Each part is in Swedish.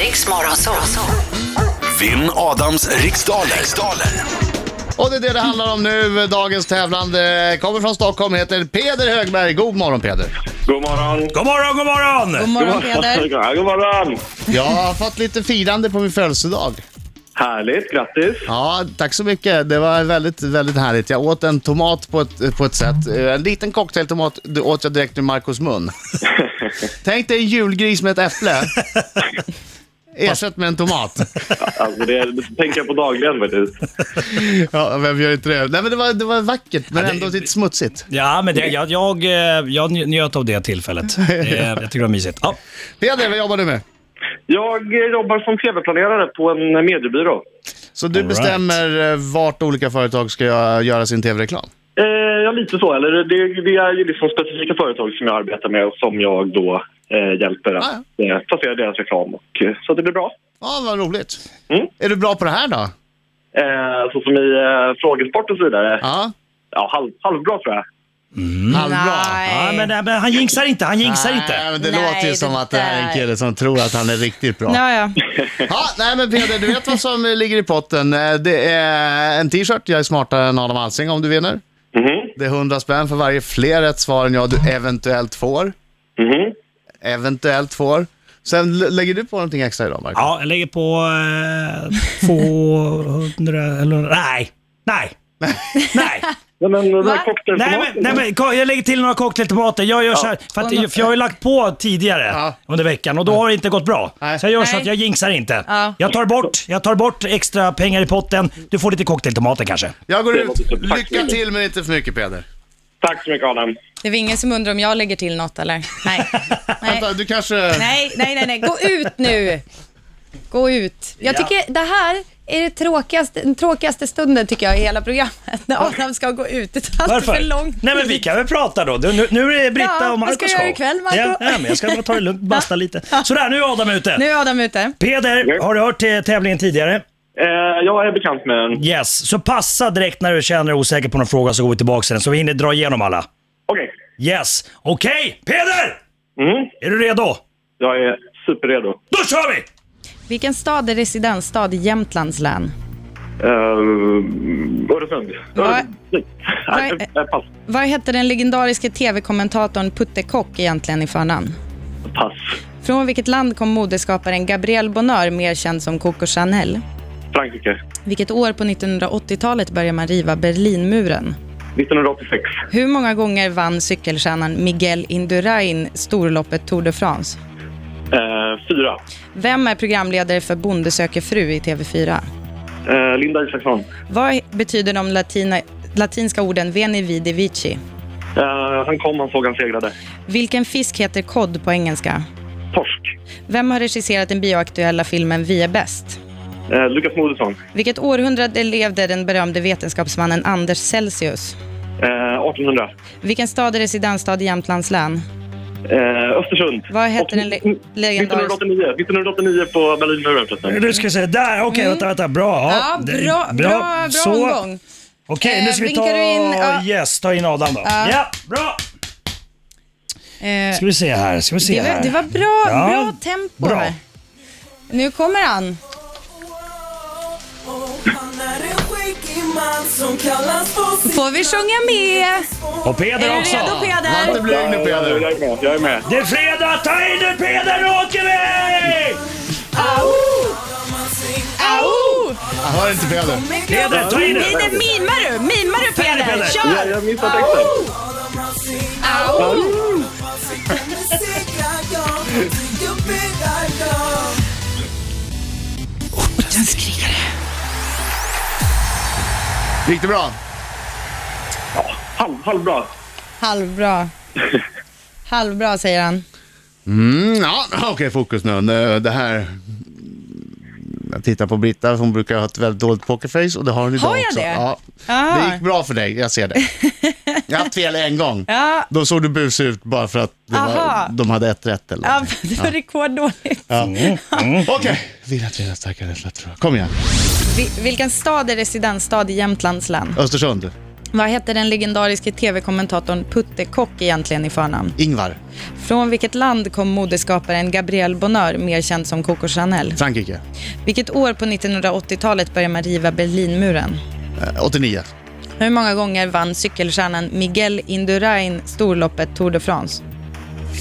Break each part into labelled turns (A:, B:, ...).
A: Riks Morgonzoo.
B: Vinn Adams riksdaler. riksdaler.
C: Och det är det det handlar om nu. Dagens tävlande kommer från Stockholm, heter Peder Högberg. God morgon Peder!
D: God morgon.
E: God morgon, god
F: God
E: morgon!
F: morgon Peder.
D: Ja, god morgon.
C: Jag har fått lite firande på min födelsedag.
D: Härligt, grattis.
C: Ja, tack så mycket. Det var väldigt, väldigt härligt. Jag åt en tomat på ett, på ett sätt. Eh, En liten cocktailtomat det åt jag direkt ur Marcos mun. Tänk dig en julgris med ett äpple. Ersätt med en tomat.
D: Alltså, det, det tänker jag på dagligen faktiskt.
C: Ja, vem gör inte det? Nej, men det, var, det var vackert, men ändå lite smutsigt.
E: Ja, men det, jag, jag, eh, jag nj- njöt av det tillfället. Det, jag tycker det var mysigt. Ja.
C: Peder, vad jobbar du med?
D: Jag eh, jobbar som tv-planerare på en mediebyrå.
C: Så du
E: All right.
C: bestämmer eh, vart olika företag ska göra- göra sin tv-reklam?
D: Eh, ja, lite så. Eller det, det är ju liksom specifika företag som jag arbetar med och som jag då eh, hjälper att
C: Ah,
D: eh, placera deras reklam. Och, eh, så det blir bra.
C: Ja, vad roligt.
D: Mm.
C: Är du bra på det här då?
D: Eh, så som i eh, frågesport och så vidare.
E: Ah.
C: Ja,
D: Ja, halv, halvbra tror jag.
C: halvbra.
E: Ja, men, nej, men han jinxar inte, han jinxar
C: Nej,
E: inte.
C: men det
F: Nej,
C: låter ju
F: det
C: som att det här är en
F: där.
C: kille som tror att han är riktigt bra.
F: Ja, ja.
C: Ja, nej men Peder, du vet vad som ligger i potten. Eh, Det är en t-shirt, jag är smartare än Adam Alsing om du vinner.
D: Mhm,
C: Det är 100 spänn för varje fler rätt svar än jag du eventuellt får.
D: mhm.
C: Eventuellt får. Sen l- lägger du på någonting extra idag, Marco?
E: Ja, jag lägger på eh, 200 eller... Nej, nej, nej.
D: Nej, men eh, den där
F: Va?
E: Nej
D: cocktailtomaten.
E: men, nej, men ko- jag lägger till några cocktailtomater. Jag gör så här, för, att, för jag har ju lagt på tidigare
C: Ja.
E: under veckan och då har det inte gått bra.
C: Nej.
E: Så jag gör så
F: Nej.
E: att jag jinxar inte.
F: Ja.
E: Jag, tar bort, jag tar bort extra pengar i potten. Du får lite cocktailtomater kanske.
C: Jag går
D: Det
C: ut.
D: låter som tack.
C: Lycka till men inte för mycket Peder.
D: Tack så mycket, Adam.
F: Det var ingen som undrar om jag lägger till något eller? Nej. Nej,
C: Vänta, du kanske...
F: nej, nej, nej, nej. gå ut nu. Gå ut. Jag
E: Ja.
F: tycker det här är det tråkigaste, den tråkigaste stunden tycker jag i hela programmet. När Adam ska gå ut. Det tar alltid för lång tid.
E: Nej men vi kan väl prata då. Du, nu, nu är det Britta
F: Ja,
E: och
F: vad
E: Marcos
F: ska jag göra ikväll, Marco?
E: Ja, ja, men jag ska bara ta det lugnt, basta lite. Sådär, nu är Adam ute.
F: Nu är Adam ute.
E: Peder, har du hört eh, tävlingen tidigare?
D: Eh, jag är bekant med den.
E: Yes. Så passa direkt när du känner dig osäker på någon fråga så går vi tillbaka till den så vi hinner dra igenom alla.
D: Okej,
E: Yes. Okej, Peder!
D: Mm.
E: Är du redo?
D: jag är superredo.
E: Då kör vi!
F: Vilken stad är residensstad i Jämtlands län?
D: Uh, Öresund.
F: Vad-
D: Nej,
F: vad-
D: eh, eh, pass.
F: Vad hette den legendariske tv-kommentatorn Putte Kock egentligen i förnamn?
D: Pass.
F: Från vilket land kom modeskaparen Gabrielle Bonheur, mer känd som Coco Chanel?
D: Frankrike.
F: Vilket år på 1980-talet började man riva Berlinmuren?
D: 1986.
F: Hur många gånger vann cykelstjärnan Miguel Indurain storloppet Tour de France?
D: Eh, fyra.
F: Vem är programledare för Bonde söker fru i TV4?
D: Eh, Linda Isaksson.
F: Vad betyder de latina, latinska orden veni vidi vici?
D: Eh, han kom, han såg, han segrade.
F: Vilken fisk heter kod på engelska?
D: Torsk.
F: Vem har regisserat den bioaktuella filmen Vi är bäst?
D: Eh, Lukas Moodysson.
F: Vilket århundrade levde den berömde vetenskapsmannen Anders Celsius?
D: Eh, 1800.
F: Vilken stad är residensstad i Jämtlands län?
D: Eh, Östersund.
F: Vad hette den le-
D: Åttio-
F: legendariska-
D: 1989. 1989 på Berlinmuren förresten.
E: Nu ska vi se, där, okej vänta, vänta, bra.
F: Mm. Ja,
E: det-
F: bra, bra, bra
E: Så.
F: omgång.
E: Okej, nu ska
F: Eh,
E: vi ta,
F: vinkar du in, ja.
E: yes, ta in Adam då.
F: Ja.
E: Ja, bra!
F: Eh,
E: Ska vi se här, ska vi se
F: det, var,
E: här.
F: det var bra,
E: Ja,
F: bra tempo
E: bra.
F: här. Nu kommer han.
G: Han är en skäggig man som kallas på
F: Får vi sjunga med?
E: Och Peder
F: Är du
E: också.
F: redo
C: Var inte
F: Peder?
C: blyg nu Peder.
D: Jag är med. Jag är med.
E: Det är fredag, ta in nu Peder, nu åker vi!
F: Au!
C: Jag hör inte Peder.
E: Peder, ta in nu.
F: Mimar du? Mimar du Peder?
E: Peder.
D: Jag,
F: Kör!
D: jag missade texten.
F: Au!
C: Gick det bra?
D: Halv, halvbra.
F: Halvbra. Halvbra säger han.
C: Mm, ja, okej fokus nu. Nu, Det här... Jag tittar på Britta, hon brukar ha ett väldigt dåligt pokerface och det har hon idag
F: Har jag
C: också.
F: det?
C: Ja.
F: Ah.
C: Det gick bra för dig, jag ser det. Jag har haft fel en gång.
F: Ja,
C: Då såg du busig ut bara för att det var,
F: Aha.
C: de hade ett rätt eller
F: ja
C: någonting.
F: det var rekorddåligt.
C: Okej, vila trilla starkare än lätt tror jag. Kom igen.
F: Vi- Vilken stad är residensstad i Jämtlands län?
C: Östersund.
F: Vad hette den legendariske tv-kommentatorn Putte Kock egentligen i förnamn?
C: Ingvar.
F: Från vilket land kom modeskaparen Gabrielle Bonheur, mer känd som Coco Chanel?
C: Frankrike.
F: Vilket år på 1980-talet började man riva Berlinmuren?
C: Eh, 89.
F: Hur många gånger vann cykelstjärnan Miguel Indurain storloppet Tour de France?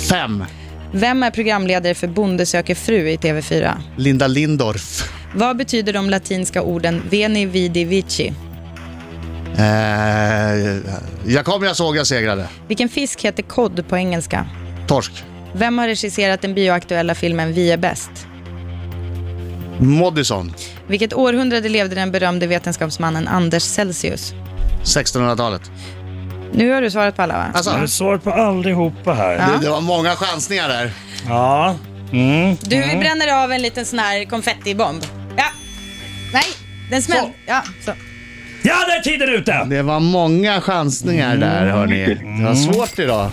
C: 5.
F: Vem är programledare för Bonde söker fru i TV4?
C: Linda Lindorff.
F: Vad betyder de latinska orden veni, vidi, vici?
C: Eh, jag kom, jag såg, jag segrade.
F: Vilken fisk heter kod på engelska?
C: Torsk.
F: Vem har regisserat den bioaktuella filmen Vi är bäst?
C: Moddison.
F: Vilket århundrade levde den berömde vetenskapsmannen Anders Celsius?
C: 1600-talet.
F: Nu har du svarat på alla va?
C: Alltså,
E: Jag har svar på allihopa här.
C: det, det var många chansningar där.
E: Ja. Mm.
F: Du, vi bränner av en liten sån här konfettibomb. Ja. Nej, den smällde. Ja, så.
E: Ja, där är tiden ute!
C: Det var många chansningar där, hörni. Det var svårt idag.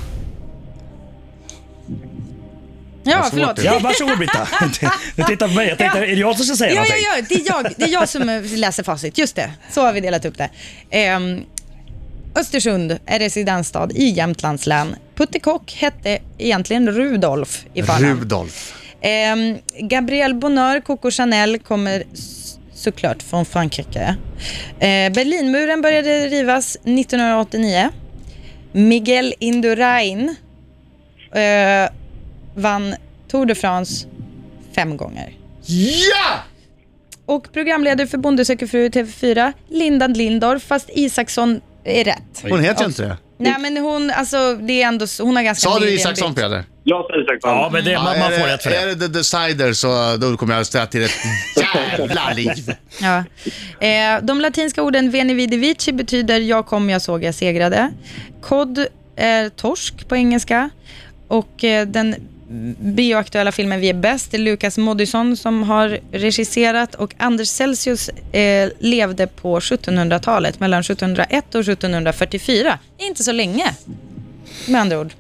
F: Ja,
C: svårt
F: förlåt.
C: det
F: Ja,
E: Ja, varsågod Britta. Du tittar på mig. Jag tänkte,
F: Ja.
E: är det jag som ska säga
F: ja,
E: någonting?
F: ja, det är jag, det är jag som eh, läser facit. Just det, så har vi delat upp det. Ehm, Östersund är residensstad i Jämtlands län. Putte Kock hette egentligen Rudolf i förnamn.
C: Rudolf.
F: Ehm, Gabrielle Bonheur, Coco Chanel kommer s- såklart från Frankrike. Eh, Berlinmuren började rivas 1989. Miguel Indurain eh, vann Tour de France fem gånger.
C: Ja!
F: Och programledare för Bonde söker fru i TV4, Linda Lindorff, fast Isaksson är rätt.
C: Hon heter ju inte det.
F: Nej men hon, alltså det är ändå, s- hon har ganska
C: Sa du
F: nyligen
C: Isaksson,
F: bytt.
C: Peder?
D: Jag säger säkert
E: Ja, men det, man, man
C: är
E: får rätt för
C: Är
E: det.
C: det the decider så då kommer jag att ställa till ett jävla liv.
F: Ja. Eh, de latinska orden veni vidi vici betyder jag kom, jag såg, jag segrade. Cod är torsk på engelska. Och eh, den bioaktuella filmen Vi är bäst, det är Lukas Moodysson som har regisserat och Anders Celsius eh, levde på 1700-talet, mellan 1701 och 1744. Inte så länge, med andra ord.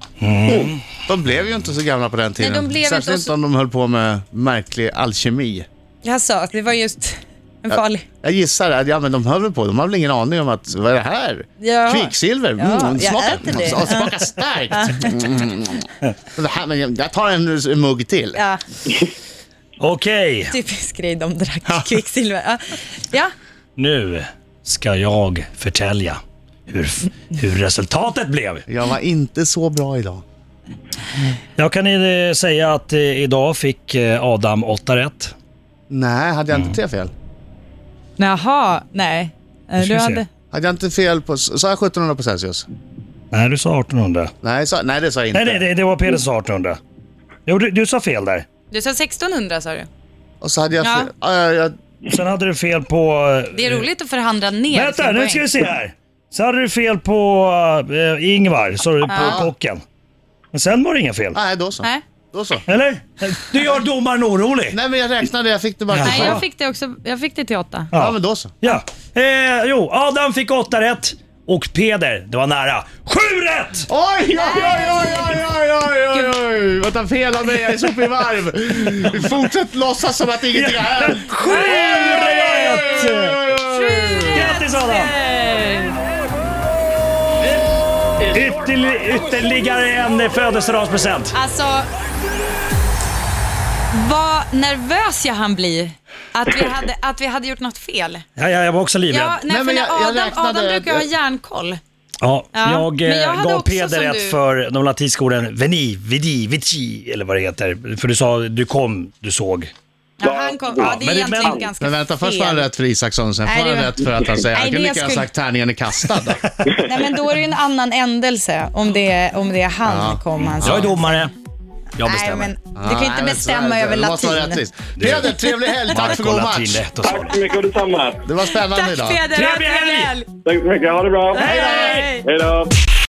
C: De blev ju inte så gamla på den tiden.
F: Nej, de blev
C: Särskilt
F: inte och
C: inte
F: så-
C: om de höll på med märklig alkemi.
F: Jag sa att det var just en farlig...
C: Jag gissar att ja, men de höll väl på. De har väl ingen aning om att, vad är det här?
F: Ja.
C: Kvicksilver? Mm,
F: Ja, jag
C: smakar,
F: äter det.
C: ja, smakar starkt. Mm. Det här, men jag- jag tar en, en mugg till.
F: Ja,
E: Okej,
F: typisk grej de drack, kvicksilver. Ja. ja.
E: nu ska jag förtälja hur, f- hur resultatet blev.
C: Jag var inte så bra idag.
E: Jag kan eh, säga att eh, idag fick eh, Adam 8 rätt.
C: Nej, hade
E: Mm.
C: jag inte tre fel?
F: Jaha, nej. Eh,
E: ska
F: Du
E: vi se.
F: hade...
C: Hade jag inte fel på... Sa jag 1700 på Celsius?
E: Nej, du sa 1800.
C: Nej, sa, nej det sa jag inte.
E: Nej, nej, det, det var Peder som sa 1800. Jo, du, du sa fel där.
F: Du sa 1600 sa du.
C: Och så hade jag
F: Ja.
C: fel... Ja. jag- jag,
E: Sen hade du fel på... eh,
F: Det är roligt att förhandla ner
E: Vänta,
F: sin
E: nu
F: poäng.
E: ska vi se här. Så hade du fel på eh, Ingvar, så du på kocken. Men sen var det inga fel.
C: nej, då så.
F: Nej.
C: Då så.
E: Eller? Du gör domaren orolig.
C: Nej, men jag räknade. Jag fick det bara till
F: Nej,
C: sju.
F: jag fick det också. Jag fick det till åtta.
C: Ja, men då så.
E: Ja. Eh, jo, Adam fick åtta rätt och Peder, det var nära, sju rätt!
C: Oj, oj, oj, oj, oj, oj, oj, oj, oj. Vad tar fel av mig? Jag är så uppe i varv. Fortsätt låtsas som att ingenting har hänt.
E: Sju rätt! Grattis Adam! Ytterli- ytterligare en födelsedagspresent.
F: Alltså, vad nervös jag han bli att vi hade, att vi hade gjort något fel.
E: Ja, ja, jag var också livrädd.
F: Ja, nej,
C: men
F: för när
C: jag- jag
F: Adam,
C: räknade-
F: Adam brukar ha järnkoll.
E: Ja,
F: Ja,
E: jag,
F: men
E: eh,
F: jag hade
E: gav
F: också
E: Peder
F: som
E: rätt
F: du.
E: för de latinska orden veni, vidi, vici eller vad det heter. För du sa du kom, du såg.
F: Ja, han kom, ja,
E: men
F: det är
E: det-
F: egentligen
E: men-
F: ganska
C: Men vänta, först
F: fel.
C: var han rätt för Isaksson, sen
F: Nej,
C: får han
F: det var-
C: rätt för att han säger
F: Nej,
C: han
F: det
C: kunde lika gärna
F: skulle-
C: sagt tärningen är kastad.
F: Nej, men då är det ju en annan ändelse om det är, om det är han
C: Ja.
F: kom alltså. han sa.
E: Jag är domare, jag
F: Nej,
E: bestämmer.
F: men du kan ju inte
C: Nej, men så
F: bestämma
C: är det.
F: över
C: Det måste
F: latin.
C: vara rättvist. Peder, trevlig helg. Tack för
E: Marco
C: god match.
E: latin rätt och
D: Tack så
E: svaret.
D: mycket och detsamma.
C: Det var spännande
F: Tack
C: idag.
F: Peder, ha en
E: Trevlig
F: trevlig
E: helg!
F: helg!
D: Tack så mycket. Ha det bra.
F: Hej!
D: Hej då.